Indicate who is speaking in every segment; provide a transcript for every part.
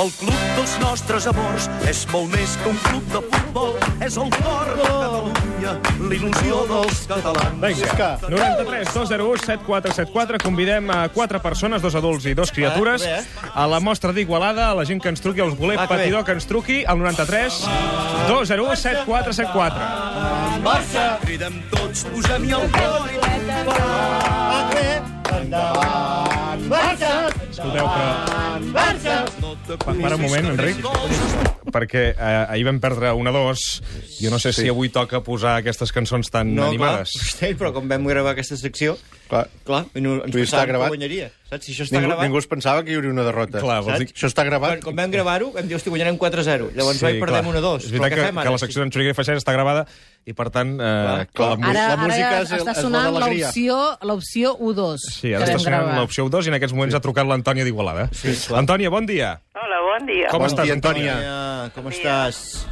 Speaker 1: El club dels nostres amors és molt més que un club de futbol. És el cor de Catalunya, l'il·lusió dels catalans.
Speaker 2: Vinga,
Speaker 3: Visca.
Speaker 2: 93 201 7474. Convidem a quatre persones, dos adults i dos criatures,
Speaker 3: Eh, bé.
Speaker 2: a la mostra d'Igualada, a la gent que ens truqui, als voler
Speaker 3: Va, que bé.
Speaker 2: patidor que ens truqui, al 93 201 7474.
Speaker 3: Barça,
Speaker 1: Cridem tots, posem-hi el cor i
Speaker 3: Madrid, endavant. Barça,
Speaker 2: Escolteu, però
Speaker 3: Barça.
Speaker 1: no te
Speaker 2: para un moment, Enric, perquè eh, ahir vam perdre 1-2. Jo no sé si avui toca posar aquestes cançons tan animades.
Speaker 3: Clar, hosti, però com vam gravar aquesta secció,
Speaker 4: Clar.
Speaker 3: clar, i no, ens
Speaker 4: Vull dir, està
Speaker 3: pensàvem que
Speaker 4: gravat.
Speaker 3: guanyaria. Saps? Si això està
Speaker 4: Ningú,
Speaker 3: gravat...
Speaker 4: ningú es pensava que hi hauria una derrota.
Speaker 2: Clar, vols dir-
Speaker 4: Saps? Això està
Speaker 3: Quan,
Speaker 4: gravat.
Speaker 3: quan vam gravar-ho, vam dir, hosti, guanyarem 4-0. Llavors sí, vaig Doncs perdem 1-2.
Speaker 2: És
Speaker 3: Però
Speaker 2: veritat
Speaker 3: què
Speaker 2: que,
Speaker 3: fem
Speaker 2: que
Speaker 3: ara?
Speaker 2: la secció d'en Xuriguer Feixer està gravada i, per tant, eh, clar, la, música...
Speaker 4: Ara- la música
Speaker 5: ara
Speaker 4: és el-
Speaker 5: està
Speaker 4: és la
Speaker 5: sonant
Speaker 4: d'alegria.
Speaker 5: l'opció l'opció 1-2.
Speaker 2: Sí, ara està sonant l'opció 2 i en aquests moments ha trucat l'Antònia d'Igualada. Sí, Antònia, bon dia.
Speaker 6: Hola, bon dia.
Speaker 2: Com
Speaker 4: Bon
Speaker 2: estàs,
Speaker 4: dia,
Speaker 2: Antònia?
Speaker 4: Antònia.
Speaker 3: Antònia, com estàs?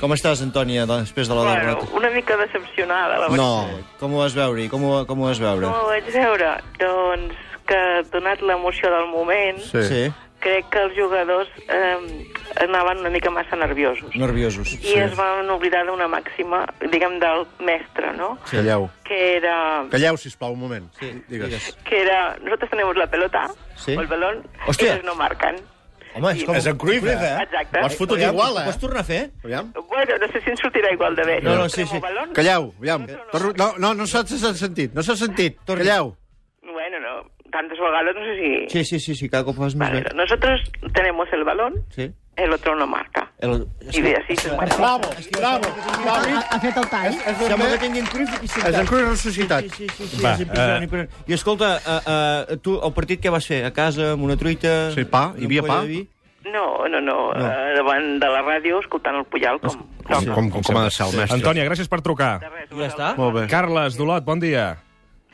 Speaker 3: Com estàs, Antònia, doncs, després de la
Speaker 6: Bueno,
Speaker 3: derrota?
Speaker 6: una mica decepcionada, la
Speaker 3: No,
Speaker 6: veritat.
Speaker 3: com ho vas veure? Com ho, com ho vas veure?
Speaker 6: Com ho vaig veure? Doncs que, donat l'emoció del moment,
Speaker 4: Sí.
Speaker 3: Sí,
Speaker 6: crec que els jugadors eh, anaven una mica massa nerviosos.
Speaker 3: nerviosos.
Speaker 6: I es van oblidar d'una màxima, diguem, del mestre, no?
Speaker 4: Calleu.
Speaker 6: Que era...
Speaker 4: Calleu, sisplau, un moment.
Speaker 3: Sí,
Speaker 4: Digues.
Speaker 3: digues.
Speaker 6: Que era... Nosotros tenemos la pelota,
Speaker 3: Sí.
Speaker 6: o el balón,
Speaker 3: Hòstia.
Speaker 6: Hòstia. ellos no marcan.
Speaker 3: Home, és com...
Speaker 4: És en Cruyff, eh?
Speaker 6: Exacte.
Speaker 4: Ho has fotut
Speaker 3: Aviam,
Speaker 4: igual,
Speaker 3: Ho
Speaker 4: eh?
Speaker 3: pots tornar a fer?
Speaker 4: Aviam.
Speaker 6: Bueno, no sé si ens sortirà igual de bé.
Speaker 3: No, no,
Speaker 6: Nosotros tenemos
Speaker 3: sí, sí.
Speaker 6: balón.
Speaker 4: Calleu, aviam. Torno- No, no, no s'ha s'ha sentit, no s'ha sentit.
Speaker 3: Torni.
Speaker 4: Calleu.
Speaker 6: Bueno, no, tantes vegades no sé si...
Speaker 3: Sí, sí, sí, sí cada cop ho fas més
Speaker 6: Vale,
Speaker 3: bé.
Speaker 6: nosotros tenemos el balón,
Speaker 3: Sí.
Speaker 6: el otro no marca.
Speaker 3: El...
Speaker 6: Y de así se marca.
Speaker 4: Bravo, bravo,
Speaker 5: Ha, ha fet el tall.
Speaker 3: Sembla que tingui en Cruyff i
Speaker 4: És en Cruyff ressuscitat.
Speaker 3: Sí, sí, sí, sí,
Speaker 2: Va,
Speaker 3: és impressionant, impressionant. I escolta, uh, uh, tu, el partit què vas fer? A casa, amb una truita?
Speaker 4: Sí, pa, hi havia
Speaker 3: una ampolla
Speaker 4: pa?
Speaker 3: de vi?
Speaker 6: No, no, no, eh, davant de la ràdio, escoltant el Puyal com...
Speaker 4: Com, com, com, com ha de ser el mestre.
Speaker 2: Antònia, gràcies per trucar.
Speaker 3: Ja està?
Speaker 4: Molt bé.
Speaker 2: Carles, Dolot, bon dia.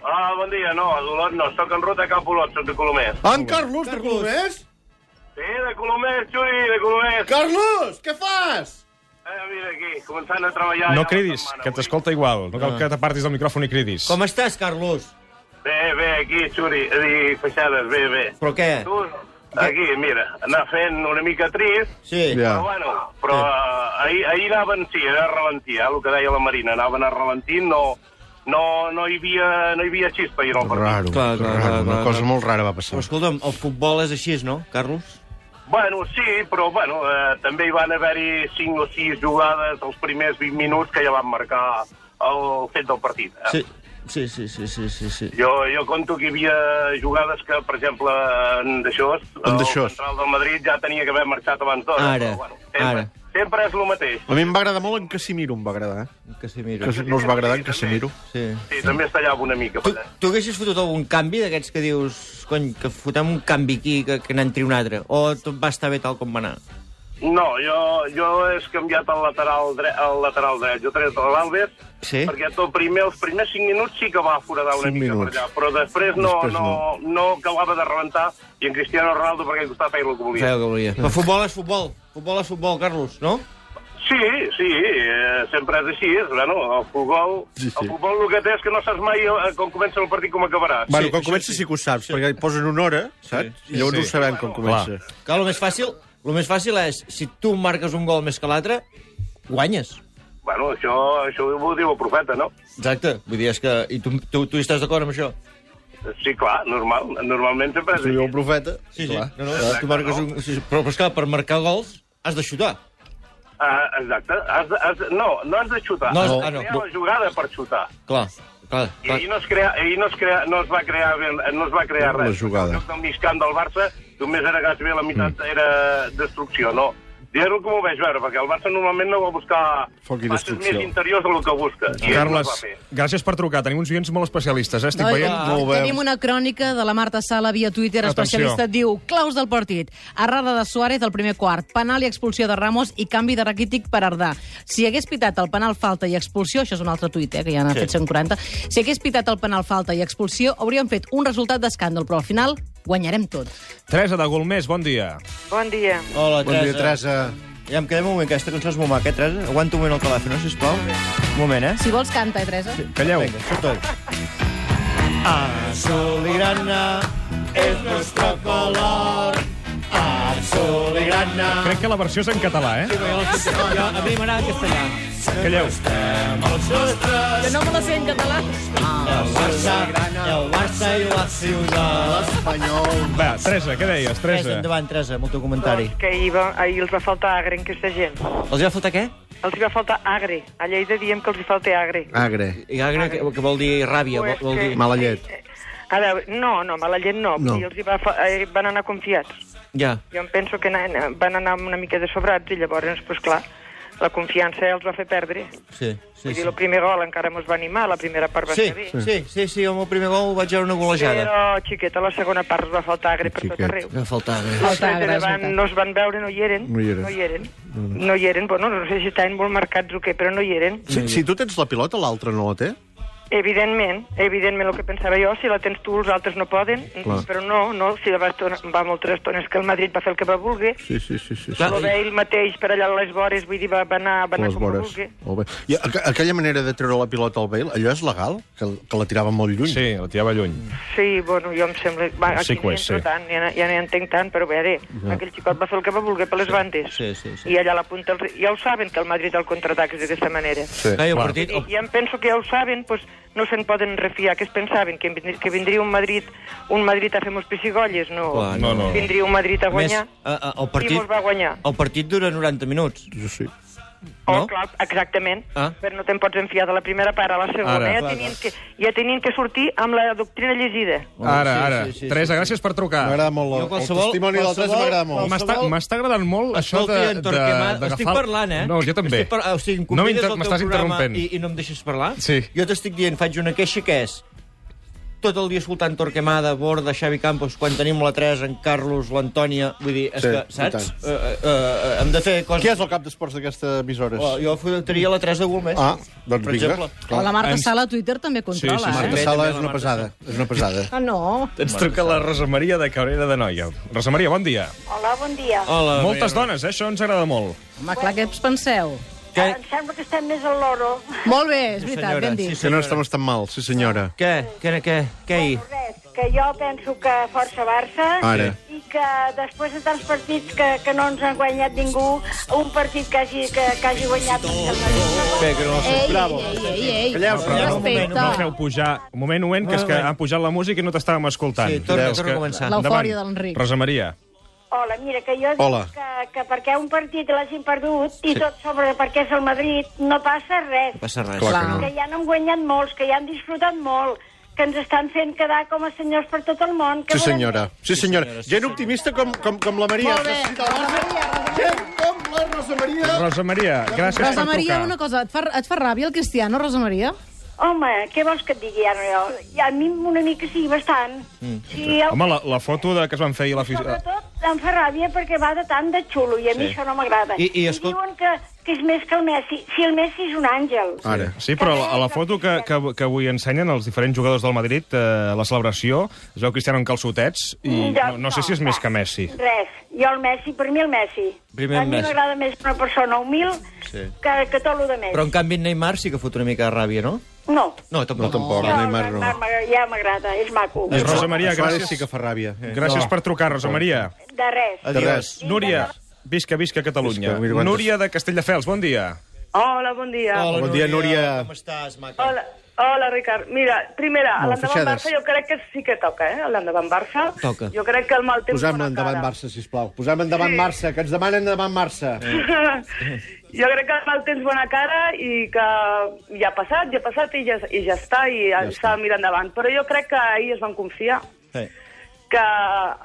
Speaker 7: Hola, Ah, bon dia. No, a Dolors no. Soc en ruta cap a Olot, soc de Colomers.
Speaker 4: En Carlos, de Colomers?
Speaker 7: Sí, de Colomers, Xuri, de Colomers.
Speaker 4: Carlos, què fas?
Speaker 7: Eh, mira aquí, començant a treballar.
Speaker 2: No
Speaker 7: ja
Speaker 2: cridis,
Speaker 7: la setmana,
Speaker 2: que
Speaker 7: avui.
Speaker 2: t'escolta igual. No
Speaker 3: Ah.
Speaker 2: cal que t'apartis del micròfon i cridis.
Speaker 3: Com estàs, Carlos?
Speaker 7: Bé, bé, aquí, Xuri, a dir, feixades, bé, bé.
Speaker 3: Però què?
Speaker 7: Tu, aquí, mira, anar fent una mica trist,
Speaker 3: Sí.
Speaker 4: Ja.
Speaker 7: però bueno, però eh, ahir, ahir anaven, sí, a ralentir, eh, el que deia la Marina, anaven a ralentir, no, no, no, hi havia, no hi havia xispa ahir al partit.
Speaker 4: Raro,
Speaker 3: Clar, clar, clar,
Speaker 4: raro. Una
Speaker 3: clar,
Speaker 4: cosa
Speaker 3: clar.
Speaker 4: molt rara va passar.
Speaker 3: Però escolta'm, el futbol és així, no, Carlos?
Speaker 7: Bueno, sí, però bueno, eh, també hi van haver-hi 5 o 6 jugades els primers 20 minuts que ja van marcar el fet del partit. Eh?
Speaker 3: Sí, sí, sí, sí, sí, sí. sí.
Speaker 7: Jo, jo conto que hi havia jugades que, per exemple, en Deixós,
Speaker 4: En
Speaker 7: el
Speaker 4: Deixós.
Speaker 7: central del Madrid ja tenia que haver marxat abans d'hora.
Speaker 3: Ara,
Speaker 7: però, sempre,
Speaker 3: ara.
Speaker 7: Sempre és el mateix.
Speaker 4: A mi em va agradar molt en Casimiro, em va agradar. eh?
Speaker 3: Que sí, mira.
Speaker 4: Que no us va agradar en Casimiro.
Speaker 3: Sí.
Speaker 7: Sí, també es tallava una mica.
Speaker 3: Tu,
Speaker 7: Per allà.
Speaker 3: tu haguessis fotut algun canvi d'aquests que dius, cony, que fotem un canvi aquí, que, que n'entri un altre? O tot va estar bé tal com va anar?
Speaker 7: No, jo, jo he canviat el lateral, dre el lateral dret. Jo he tret l'Albert,
Speaker 3: Sí.
Speaker 7: perquè tot primer, els primers 5 minuts sí que va foradar una
Speaker 4: Cinc
Speaker 7: mica
Speaker 4: minuts.
Speaker 7: per allà, però després no,
Speaker 4: Després
Speaker 7: no, no. no acabava de rebentar i en Cristiano Ronaldo perquè li costava feia el que volia.
Speaker 3: Feu que volia. Però futbol és futbol. Futbol és futbol, Carlos, no?
Speaker 7: Sí, sí, eh, sempre és així. És, bueno, el futbol,
Speaker 4: Sí, sí.
Speaker 7: el futbol el que té és que no saps mai eh, com comença el partit com acabarà.
Speaker 4: Bueno, quan
Speaker 3: això
Speaker 4: comença
Speaker 3: sí.
Speaker 4: sí que ho saps, perquè hi posen una hora, saps? I llavors
Speaker 2: sí.
Speaker 4: ho sabem quan comença.
Speaker 3: Clar, el més fàcil, el més fàcil és, si tu marques un gol més que l'altre, guanyes.
Speaker 7: Bueno, això, això ho diu el profeta, no?
Speaker 3: Exacte. Vull dir, és que... I tu, tu, tu hi estàs d'acord amb això?
Speaker 7: Sí, clar, normal. Normalment sempre és
Speaker 4: Si diu
Speaker 7: així.
Speaker 4: el profeta...
Speaker 3: Sí, sí.
Speaker 4: clar.
Speaker 3: No, no, tu marques un... Sí, sí. Però, però és clar, per marcar gols has de xutar.
Speaker 7: Ah, exacte. Has de, has de, no, no has de xutar. No,
Speaker 3: No, has-
Speaker 7: has,
Speaker 3: ah,
Speaker 7: ah,
Speaker 3: no.
Speaker 7: la jugada per xutar.
Speaker 3: Clar, clar,
Speaker 7: I
Speaker 3: clar.
Speaker 7: ahir no es, crea, ahir no es, crea, no es va crear, ben- no es va crear
Speaker 4: La
Speaker 7: res.
Speaker 4: jugada.
Speaker 7: En lloc del mig camp del Barça, només era gairebé la meitat mm. era destrucció, no? Dir-ho com ho veig veure, perquè el Barça normalment no va buscar
Speaker 4: Foc i
Speaker 7: passes
Speaker 4: destrucció.
Speaker 7: més interiors del que busca. I ell no
Speaker 2: Carles,
Speaker 7: va fer.
Speaker 2: gràcies per trucar. Tenim uns oients molt especialistes, eh? Estic
Speaker 5: Noi, ah,
Speaker 2: veient...
Speaker 4: molt bé.
Speaker 5: Tenim una crònica de la Marta Sala via Twitter,
Speaker 2: Atenció.
Speaker 5: especialista, diu claus del partit, errada de Suárez al primer quart, penal i expulsió de Ramos i canvi de raquític per Ardà. Si hagués pitat el penal falta i expulsió, això és un altre tuit, eh, que ja n'ha fet 140, si hagués pitat el penal falta i expulsió, hauríem fet un resultat d'escàndol, però al final guanyarem tot.
Speaker 2: Teresa de Golmés, bon dia.
Speaker 6: Bon dia.
Speaker 3: Hola,
Speaker 4: Bon dia,
Speaker 3: Teresa.
Speaker 4: Teresa.
Speaker 3: Ja em quedem un moment, que aquesta cançó és molt maca, eh, Teresa? Aguanta un moment el telèfon, no, sisplau. Un moment, eh?
Speaker 5: Si vols, canta, eh, Teresa? Sí.
Speaker 2: Calleu.
Speaker 3: Vinga, surt-ho. Azul y grana es nuestro color. Azul y grana.
Speaker 2: castellana. Crec que la versió és en català, eh?
Speaker 3: Jo, a mi m'agrada castellà.
Speaker 2: Calleu.
Speaker 5: Que no me la sé en català.
Speaker 3: El Barça i la Ciutat.
Speaker 2: Va, Teresa, què deies,
Speaker 3: Teresa,
Speaker 2: Teresa?
Speaker 3: endavant, Teresa, amb el teu comentari.
Speaker 6: Que ahir, va, ahir els va faltar agre en aquesta gent.
Speaker 3: Els va faltar què?
Speaker 6: Els hi va faltar agre. A Lleida diem que els hi falta agre.
Speaker 4: Agre.
Speaker 3: I ara que, que vol dir ràbia, vol, vol dir...
Speaker 4: Mala llet.
Speaker 6: A veure, no, no, mala llet no.
Speaker 4: No.
Speaker 6: no. I els hi va, fa- eh, van anar confiats.
Speaker 3: Ja.
Speaker 6: Jo em penso que na- van anar una mica de sobrats i llavors, pues, clar, la confiança els va fer perdre.
Speaker 3: Sí, sí,
Speaker 6: Vull dir,
Speaker 3: sí.
Speaker 6: el primer gol encara mos va animar, la primera part va
Speaker 3: Sí,
Speaker 6: ser bé.
Speaker 3: sí, sí, sí, amb el primer gol vaig veure una golejada.
Speaker 6: Però, xiqueta, la segona part els va faltar agre per tot
Speaker 4: Xiquet. eh.
Speaker 6: arreu.
Speaker 3: Va faltar bé.
Speaker 6: Els
Speaker 5: Falta
Speaker 6: de
Speaker 5: agre, és
Speaker 6: davant
Speaker 5: veritat.
Speaker 6: no es van veure, no hi eren.
Speaker 4: No hi eren.
Speaker 6: No hi eren, no hi eren. Bueno, no sé si estaven molt marcats o què, però no hi eren.
Speaker 4: Si, si tu tens la pilota, l'altre no la té.
Speaker 6: Evidentment, evidentment el que pensava jo, si la tens tu, els altres no poden,
Speaker 4: Clar.
Speaker 6: però no, no, si la va, estona, va moltes estones que el Madrid va fer el que va voler,
Speaker 4: Sí, sí, sí. sí, sí.
Speaker 3: Clar,
Speaker 6: va ell mateix per allà a les vores, vull dir, va, va anar, va anar
Speaker 4: Les
Speaker 6: com va
Speaker 4: vores.
Speaker 6: voler.
Speaker 4: Molt bé. I aqu- aquella manera de treure la pilota al Bale, allò és legal? Que, que la tirava molt lluny?
Speaker 2: Sí, la tirava lluny.
Speaker 6: Sí, bueno, jo em sembla... Va,
Speaker 2: Sí
Speaker 6: aquí
Speaker 2: que ho
Speaker 6: no hi
Speaker 2: és,
Speaker 6: entro
Speaker 2: sí.
Speaker 6: tant, ja, no- ja no hi entenc tant, però a veure, ja. aquell xicot va fer el que va voler per les bandes.
Speaker 3: sí, sí, sí.
Speaker 6: I allà a la punta... Els... Ja ho saben, que el Madrid el contraatac és d'aquesta manera.
Speaker 4: Sí,
Speaker 3: Clar, i el
Speaker 2: clar.
Speaker 3: partit...
Speaker 6: I, I em penso que ja ho saben, doncs, no se'n poden refiar. Què es pensaven? Que, vindri- que vindria un Madrid, un Madrid a fer mos pessigolles? No.
Speaker 3: Clar,
Speaker 2: no, no.
Speaker 6: Vindria un Madrid a
Speaker 3: A més,
Speaker 6: guanyar.
Speaker 3: a- a- eh, el partit...
Speaker 6: I mos va guanyar.
Speaker 3: El partit dura 90 minuts.
Speaker 4: Jo sí.
Speaker 6: Oh,
Speaker 3: no?
Speaker 6: clar, exactament.
Speaker 3: Ah.
Speaker 6: Però no te'n pots enfiar de la primera part a la segona.
Speaker 2: Ara.
Speaker 6: ja, tenien que, ja tenien que sortir amb la doctrina llegida.
Speaker 2: Ara,
Speaker 3: Sí,
Speaker 2: ara.
Speaker 3: sí, sí,
Speaker 2: Teresa, gràcies per trucar.
Speaker 4: M'agrada molt la,
Speaker 3: Jo
Speaker 4: el
Speaker 3: qualsevol-
Speaker 4: testimoni del Tres
Speaker 3: qualsevol-
Speaker 4: m'agrada molt.
Speaker 2: M'està m'està agradant molt això de...
Speaker 3: Escolti, en
Speaker 2: de-
Speaker 3: Torquemada,
Speaker 2: d'agafar-
Speaker 3: estic parlant, eh?
Speaker 2: No, jo també.
Speaker 3: Estic par... O sigui, em
Speaker 2: no
Speaker 3: convides
Speaker 2: m'inter-
Speaker 3: al teu
Speaker 2: m'estàs
Speaker 3: programa
Speaker 2: interrompent.
Speaker 3: I, I no em deixes parlar?
Speaker 2: Sí.
Speaker 3: Jo t'estic dient, faig una queixa que és tot el dia escoltant Torquemada, Borda, Xavi Campos, quan tenim la Teresa, en Carlos, l'Antònia... Vull dir, és
Speaker 4: Sí,
Speaker 3: que,
Speaker 4: i
Speaker 3: saps?
Speaker 4: tant.
Speaker 3: Uh, uh, uh, hem de fer coses...
Speaker 4: Qui és el cap d'esports d'aquesta emissora?
Speaker 3: Oh, jo fotaria la Teresa Golmés.
Speaker 4: Ah, doncs
Speaker 3: per
Speaker 4: vinga.
Speaker 3: exemple.
Speaker 5: O la Marta
Speaker 2: Ens-
Speaker 5: Sala a Twitter també controla,
Speaker 2: Sí, sí, sí.
Speaker 5: eh?
Speaker 4: Marta
Speaker 3: Bé,
Speaker 4: Sala
Speaker 3: també la
Speaker 4: és una
Speaker 3: Marta
Speaker 4: pesada. És una pesada.
Speaker 5: Ah, no?
Speaker 2: Ens truca la Rosa Maria de Cabrera de Noia. Rosa Maria, bon dia.
Speaker 8: Hola, bon dia.
Speaker 4: Oh.
Speaker 3: Hola,
Speaker 2: Moltes dones, eh? això ens agrada molt.
Speaker 5: Home, clar, què us penseu?
Speaker 3: Què?
Speaker 8: Em sembla que estem més al loro.
Speaker 5: Molt bé, és veritat,
Speaker 3: senyora,
Speaker 5: ben dit.
Speaker 3: sí,
Speaker 4: Que no estem tan mal, sí senyora.
Speaker 3: Què? Què? Què? Què hi?
Speaker 8: Res, que jo penso que força Barça
Speaker 4: Ara.
Speaker 8: i que després de tants partits que, que no ens han guanyat ningú, un partit que hagi, que, que hagi guanyat el Madrid.
Speaker 3: Bé, que no...
Speaker 5: Ei, ei, ei, ei, ei.
Speaker 4: Calleu, però,
Speaker 2: no, un moment,
Speaker 5: Respecte.
Speaker 2: no em feu pujar... Un moment, un moment, que és que ha pujat la música i no t'estàvem escoltant.
Speaker 3: Sí, torna,
Speaker 2: Veus
Speaker 3: torna a començar.
Speaker 2: Endavant.
Speaker 5: L'eufòria de l'Enric.
Speaker 2: Rosa Maria.
Speaker 8: Hola, mira, que jo dic
Speaker 4: Hola.
Speaker 8: Que, que perquè un partit l'hagin perdut i tot sobre perquè és el Madrid, no passa res.
Speaker 3: Passa res.
Speaker 4: Clar que
Speaker 5: Clar.
Speaker 4: no.
Speaker 8: que ja n'hem guanyat molts, que ja han disfrutat molt, que ens estan fent quedar com a senyors per tot el món. Que
Speaker 4: Sí
Speaker 8: volem
Speaker 4: senyora. Sí senyora. Gent optimista com, com, com la Maria.
Speaker 5: Molt bé.
Speaker 4: Necessita la Rosa. Gent com la Rosa Maria.
Speaker 2: Rosa Maria, gràcies
Speaker 5: Rosa
Speaker 2: per
Speaker 5: Maria,
Speaker 2: trucar.
Speaker 5: una cosa, et fa, et fa ràbia el Cristiano, Rosa Maria?
Speaker 8: Home, què vols que et digui ara jo? I a mi una mica sí, bastant. Mm. Sí, el...
Speaker 2: Home, la, la foto de que es van fer ahir a l'afició...
Speaker 8: Sobretot em fa ràbia perquè va de tant de xulo i a mi
Speaker 3: Sí.
Speaker 8: això no m'agrada.
Speaker 3: I- i escol-
Speaker 8: diuen que, que és més que el Messi. Si el Messi és un àngel.
Speaker 4: Ara.
Speaker 2: Sí, però a la foto que, que, que avui ensenyen els diferents jugadors del Madrid, eh, la celebració, es veu Cristiano en calçotets, i no, no sé si és més que Messi.
Speaker 8: Res. Jo el Messi, per mi el Messi.
Speaker 3: Primer
Speaker 8: a
Speaker 3: el
Speaker 8: mi
Speaker 3: Messi.
Speaker 8: m'agrada més una persona humil
Speaker 3: Sí.
Speaker 8: que, que tot el de més.
Speaker 3: Però, en canvi, en Neymar sí que fot una mica de ràbia, no?
Speaker 8: No.
Speaker 3: No, tampoc.
Speaker 4: No, tampoc.
Speaker 8: Jo,
Speaker 4: Neymar no.
Speaker 8: m'agrada- ja m'agrada, és maco.
Speaker 2: És Rosa Maria,
Speaker 4: Suárez
Speaker 2: gràcies.
Speaker 4: sí que fa ràbia. eh.
Speaker 2: Gràcies per trucar, Rosa Maria.
Speaker 8: De res.
Speaker 4: De
Speaker 3: Adiós.
Speaker 4: res.
Speaker 2: Núria, visca, visca Catalunya.
Speaker 4: Visca, mira quantes-
Speaker 2: Núria de Castelldefels, bon dia.
Speaker 6: Hola, bon dia.
Speaker 4: Hola, bon dia, Núria.
Speaker 3: Com estàs, maca?
Speaker 6: Hola, hola Ricard. Mira, primera,
Speaker 4: No,
Speaker 6: no, l'endavant
Speaker 4: Freixades.
Speaker 6: Barça jo crec que sí que toca, eh? L'endavant Barça.
Speaker 3: Toca.
Speaker 6: Jo crec que el mal temps...
Speaker 4: Posem
Speaker 6: bona
Speaker 4: endavant
Speaker 6: cara.
Speaker 4: Barça, sisplau. Posem endavant Barça, que ens demanen endavant Barça.
Speaker 6: jo crec que el mal temps bona cara i que ja ha passat, ja ha passat i ja, i ja està, i ja s'ha de mirar endavant. Però jo crec que ahir es van confiar
Speaker 3: Eh.
Speaker 6: que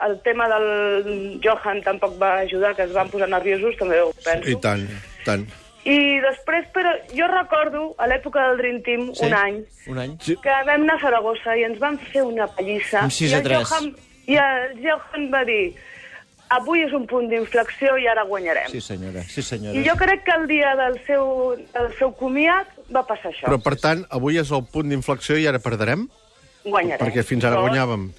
Speaker 6: el tema del Johan tampoc va ajudar, que es van posar nerviosos, també ho penso.
Speaker 4: I tant, tant.
Speaker 6: I després, però jo recordo, a l'època del Dream Team,
Speaker 3: Sí.
Speaker 6: un any,
Speaker 3: Un any.
Speaker 4: Sí.
Speaker 6: que vam anar a Saragossa i ens van fer una pallissa.
Speaker 3: Un sis a
Speaker 6: I el
Speaker 3: tres.
Speaker 6: Johan, I el Johan va dir, avui és un punt d'inflexió i ara guanyarem.
Speaker 3: Sí, senyora. Sí, senyora.
Speaker 6: I jo crec que el dia del seu, del seu comiat va passar això.
Speaker 4: Però, per tant, avui és el punt d'inflexió i ara perdrem?
Speaker 6: guanyarem.
Speaker 4: Perquè fins ara
Speaker 6: Llavors,
Speaker 4: guanyàvem.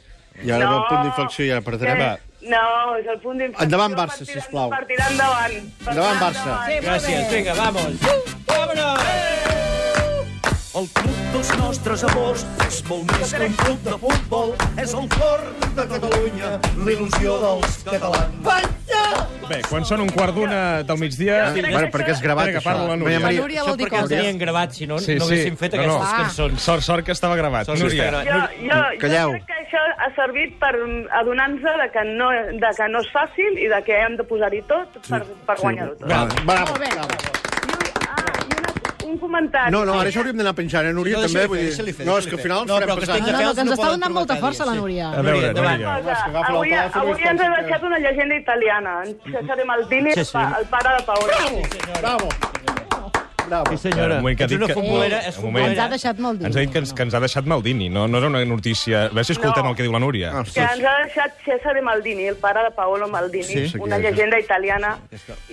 Speaker 4: I ara ve el punt d'inflexió i ara perdrem.
Speaker 6: eh, No, és el punt d'inflexió.
Speaker 4: Endavant, Barça,
Speaker 6: per tirar-
Speaker 4: sisplau.
Speaker 6: Per tirar endavant. Per
Speaker 4: Endavant,
Speaker 6: tirar
Speaker 4: Barça.
Speaker 3: Gràcies, vinga, vamos. Vámonos!
Speaker 1: El club dels nostres amors és molt més que un club de futbol. És el cor de Catalunya, l'il·lusió dels catalans. Balla!
Speaker 2: Bé, quan són un quart d'una del
Speaker 3: Ah,
Speaker 2: migdia...
Speaker 4: Sí, bueno, perquè és gravat,
Speaker 2: Espera que
Speaker 4: això.
Speaker 2: parla la Núria.
Speaker 4: Maria, Maria,
Speaker 5: La Núria
Speaker 3: Això
Speaker 5: vol dir
Speaker 3: perquè els
Speaker 5: coses.
Speaker 3: tenien gravat, si no, no haguéssim fet aquestes cançons.
Speaker 2: Ah. Sort, sort que estava gravat.
Speaker 3: Sort que
Speaker 2: Núria,
Speaker 3: estava gravat.
Speaker 6: Jo, jo,
Speaker 4: Calleu.
Speaker 6: jo crec que això ha servit per adonar-nos de, que no, de que no és fàcil i de que hem de posar-hi tot per, per guanyar-ho tot.
Speaker 4: Bravo, bravo.
Speaker 5: Molt bé.
Speaker 6: I, ah, i una, un comentari.
Speaker 4: No, no, ara això hauríem d'anar penjant, eh, Núria, també. Vull dir... No, és que al final
Speaker 3: no,
Speaker 4: ens farem
Speaker 5: No,
Speaker 4: passar.
Speaker 5: no, que ens està donant molta força, la Núria.
Speaker 2: a veure,
Speaker 3: endavant.
Speaker 2: Núria.
Speaker 6: Cosa, avui, avui ens ha deixat una llegenda italiana, en Cesare Maldini,
Speaker 3: Sí,
Speaker 6: sí,
Speaker 3: sí.
Speaker 6: sí. el pare de Paolo.
Speaker 4: Bravo. Bravo. Ah,
Speaker 3: Sí, senyora,
Speaker 2: Un moment que ha
Speaker 3: ets
Speaker 2: dit
Speaker 3: una
Speaker 2: que-
Speaker 3: futbolera,
Speaker 2: Un
Speaker 3: és
Speaker 2: moment.
Speaker 5: Eh,
Speaker 2: eh,
Speaker 5: Ens ha
Speaker 3: futbolera.
Speaker 5: deixat molt dir.
Speaker 2: Ens ha dit que ens, que ens ha deixat Maldini, no, no era una notícia... A veure si escoltem
Speaker 6: No.
Speaker 2: el que diu la Núria.
Speaker 4: Ah,
Speaker 6: que ens ha deixat Cesare Maldini, el pare de Paolo Maldini,
Speaker 4: Sí.
Speaker 6: sí, una llegenda italiana,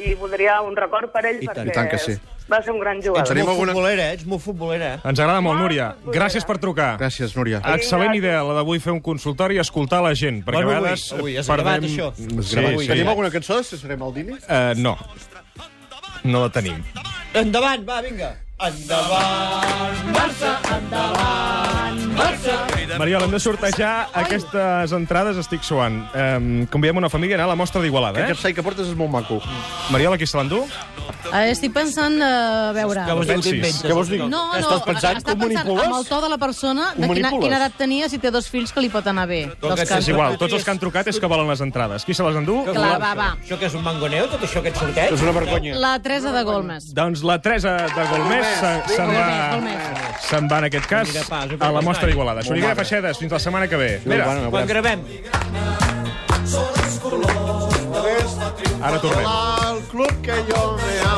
Speaker 6: i voldria un record per ell,
Speaker 3: I tant.
Speaker 6: perquè
Speaker 4: I tant que sí.
Speaker 6: va ser un gran
Speaker 3: Ets
Speaker 6: jugador.
Speaker 4: Tenim
Speaker 3: molt
Speaker 4: alguna-
Speaker 3: futbolera, ets molt futbolera.
Speaker 2: Ens agrada molt, Núria.
Speaker 6: futbolera.
Speaker 2: Gràcies per trucar.
Speaker 4: Ah. Gràcies, Núria.
Speaker 2: Excel·lent
Speaker 6: Vinga.
Speaker 2: idea, la d'avui fer un consultori i escoltar la gent, perquè
Speaker 3: Bueno,
Speaker 2: a
Speaker 3: avui-
Speaker 2: vegades
Speaker 3: avui és
Speaker 2: perdem...
Speaker 3: gravat, això.
Speaker 2: Sí,
Speaker 4: Grava avui.
Speaker 2: sí.
Speaker 4: Tenim alguna cançó de Cesare Maldini?
Speaker 2: Eh, no. No la tenim.
Speaker 3: Endavant, va, vinga.
Speaker 2: Mariola, hem de sortejar aquestes entrades, estic suant. Eh, convidem una família a anar a la mostra d'Igualada,
Speaker 4: Aquest
Speaker 2: eh?
Speaker 4: sei que portes és molt maco.
Speaker 2: Mariola, qui se l'endú?
Speaker 5: Eh, Estic pensant, eh, a veure...
Speaker 3: Que vols dir,
Speaker 2: pensis.
Speaker 3: t'inventes.
Speaker 4: Què vols dir?
Speaker 5: No, no,
Speaker 4: Estàs pensant
Speaker 5: està
Speaker 4: com
Speaker 5: pensant
Speaker 4: manipules?
Speaker 5: amb el to de la persona, de
Speaker 4: Com
Speaker 5: quina,
Speaker 4: manipules?
Speaker 5: quina edat tenia, si té dos fills que li pot anar bé.
Speaker 3: Doncs
Speaker 5: Dels
Speaker 3: que
Speaker 2: És
Speaker 3: sí,
Speaker 5: que...
Speaker 2: igual, tots els que han trucat és que volen les entrades. Qui se les endú?
Speaker 5: Clar, va, va.
Speaker 3: Això que és un mangoneo, tot això que et sorteix?
Speaker 4: És una vergonya.
Speaker 5: La Teresa de Golmes.
Speaker 2: Doncs la Teresa de Golmés se- se'n va,
Speaker 5: Golmés,
Speaker 2: se'n va, en aquest cas,
Speaker 3: Mira, pa, jo crec
Speaker 2: a la
Speaker 3: que
Speaker 2: mostra
Speaker 3: està.
Speaker 2: d'Igualada. Xuriguera Feixedes, fins la setmana que ve. Mira,
Speaker 3: Quan gravem?
Speaker 2: ara tornem.
Speaker 4: Al club que jo me